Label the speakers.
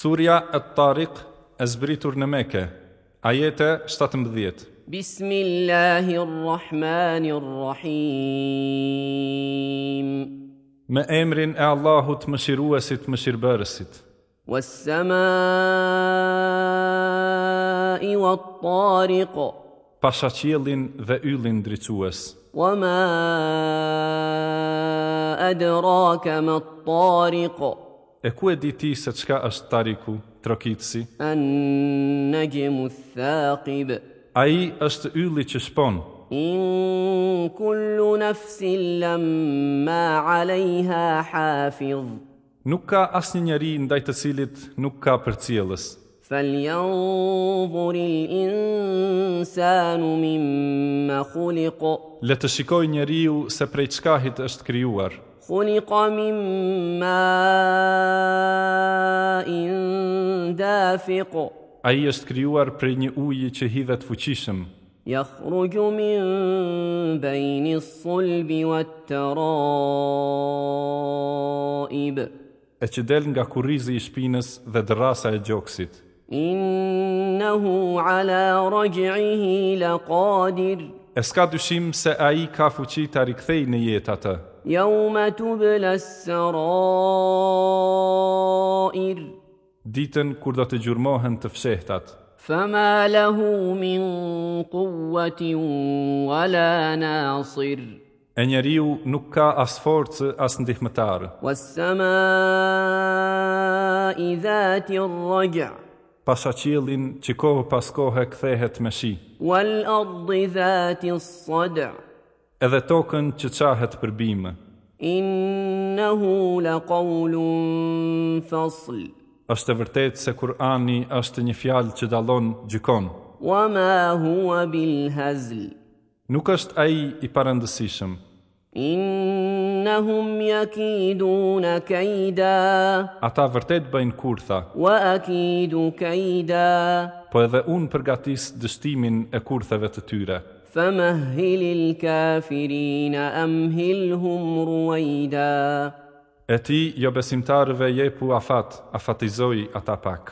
Speaker 1: Surja e Tariq e zbritur në meke, ajete 17.
Speaker 2: بسم الله الرحمن الرحيم
Speaker 1: Me emrin e Allahut më shiruesit më shirëbërësit,
Speaker 2: والسماء والطارق
Speaker 1: pasha qielin dhe yllin dricues.
Speaker 2: وما أدراك ما الطارق
Speaker 1: E ku e di ti se çka është Tariku, trokitësi?
Speaker 2: النجم الثاقب
Speaker 1: Ai është ylli që shpon.
Speaker 2: إن كل نفس لما عليها حافظ
Speaker 1: Nuk ka asnjë njeri ndaj të cilit nuk ka përcjellës.
Speaker 2: فلينظر الإنسان مما خلق
Speaker 1: Le të shikoj njeriu se prej çkahit është krijuar.
Speaker 2: خلق من ماء دافق
Speaker 1: Ai është krijuar prej një uji që hidhet fuqishëm,
Speaker 2: يخرج من بين الصلب والترائب
Speaker 1: e që del nga kurrizi i shpinës dhe dërrasa e gjoksit.
Speaker 2: إنه على رجعه لقادر
Speaker 1: E s'ka dyshim se a i ka fuqi të rikthej në jetë atë,
Speaker 2: يوم تبلى السرائر
Speaker 1: ditën kur do të gjurmohen të fshehtat.
Speaker 2: فما له من قوة ولا ناصر
Speaker 1: E njeriu nuk ka as forcë, as ndihmëtarë,
Speaker 2: والسماء ذات الرجع
Speaker 1: pasha qilin që kohë pas kohë kthehet me shi,
Speaker 2: والأرض ذات الصدع
Speaker 1: edhe tokën që qahet për bimë.
Speaker 2: إنه لقول فصل
Speaker 1: është e vërtet se Kurani është një fjalë që dalon gjykon.
Speaker 2: وما هو بالهزل
Speaker 1: Nuk është ai i parandësishëm.
Speaker 2: إنهم يكيدون كيدا
Speaker 1: Ata vërtet bëjnë kurtha,
Speaker 2: وأكيد كيدا
Speaker 1: po edhe unë përgatis dështimin e kurtheve të tyre.
Speaker 2: فمهل الكافرين أمهلهم رويدا
Speaker 1: E ti, jo besimtarëve, jepu afat, afatizoj ata pak.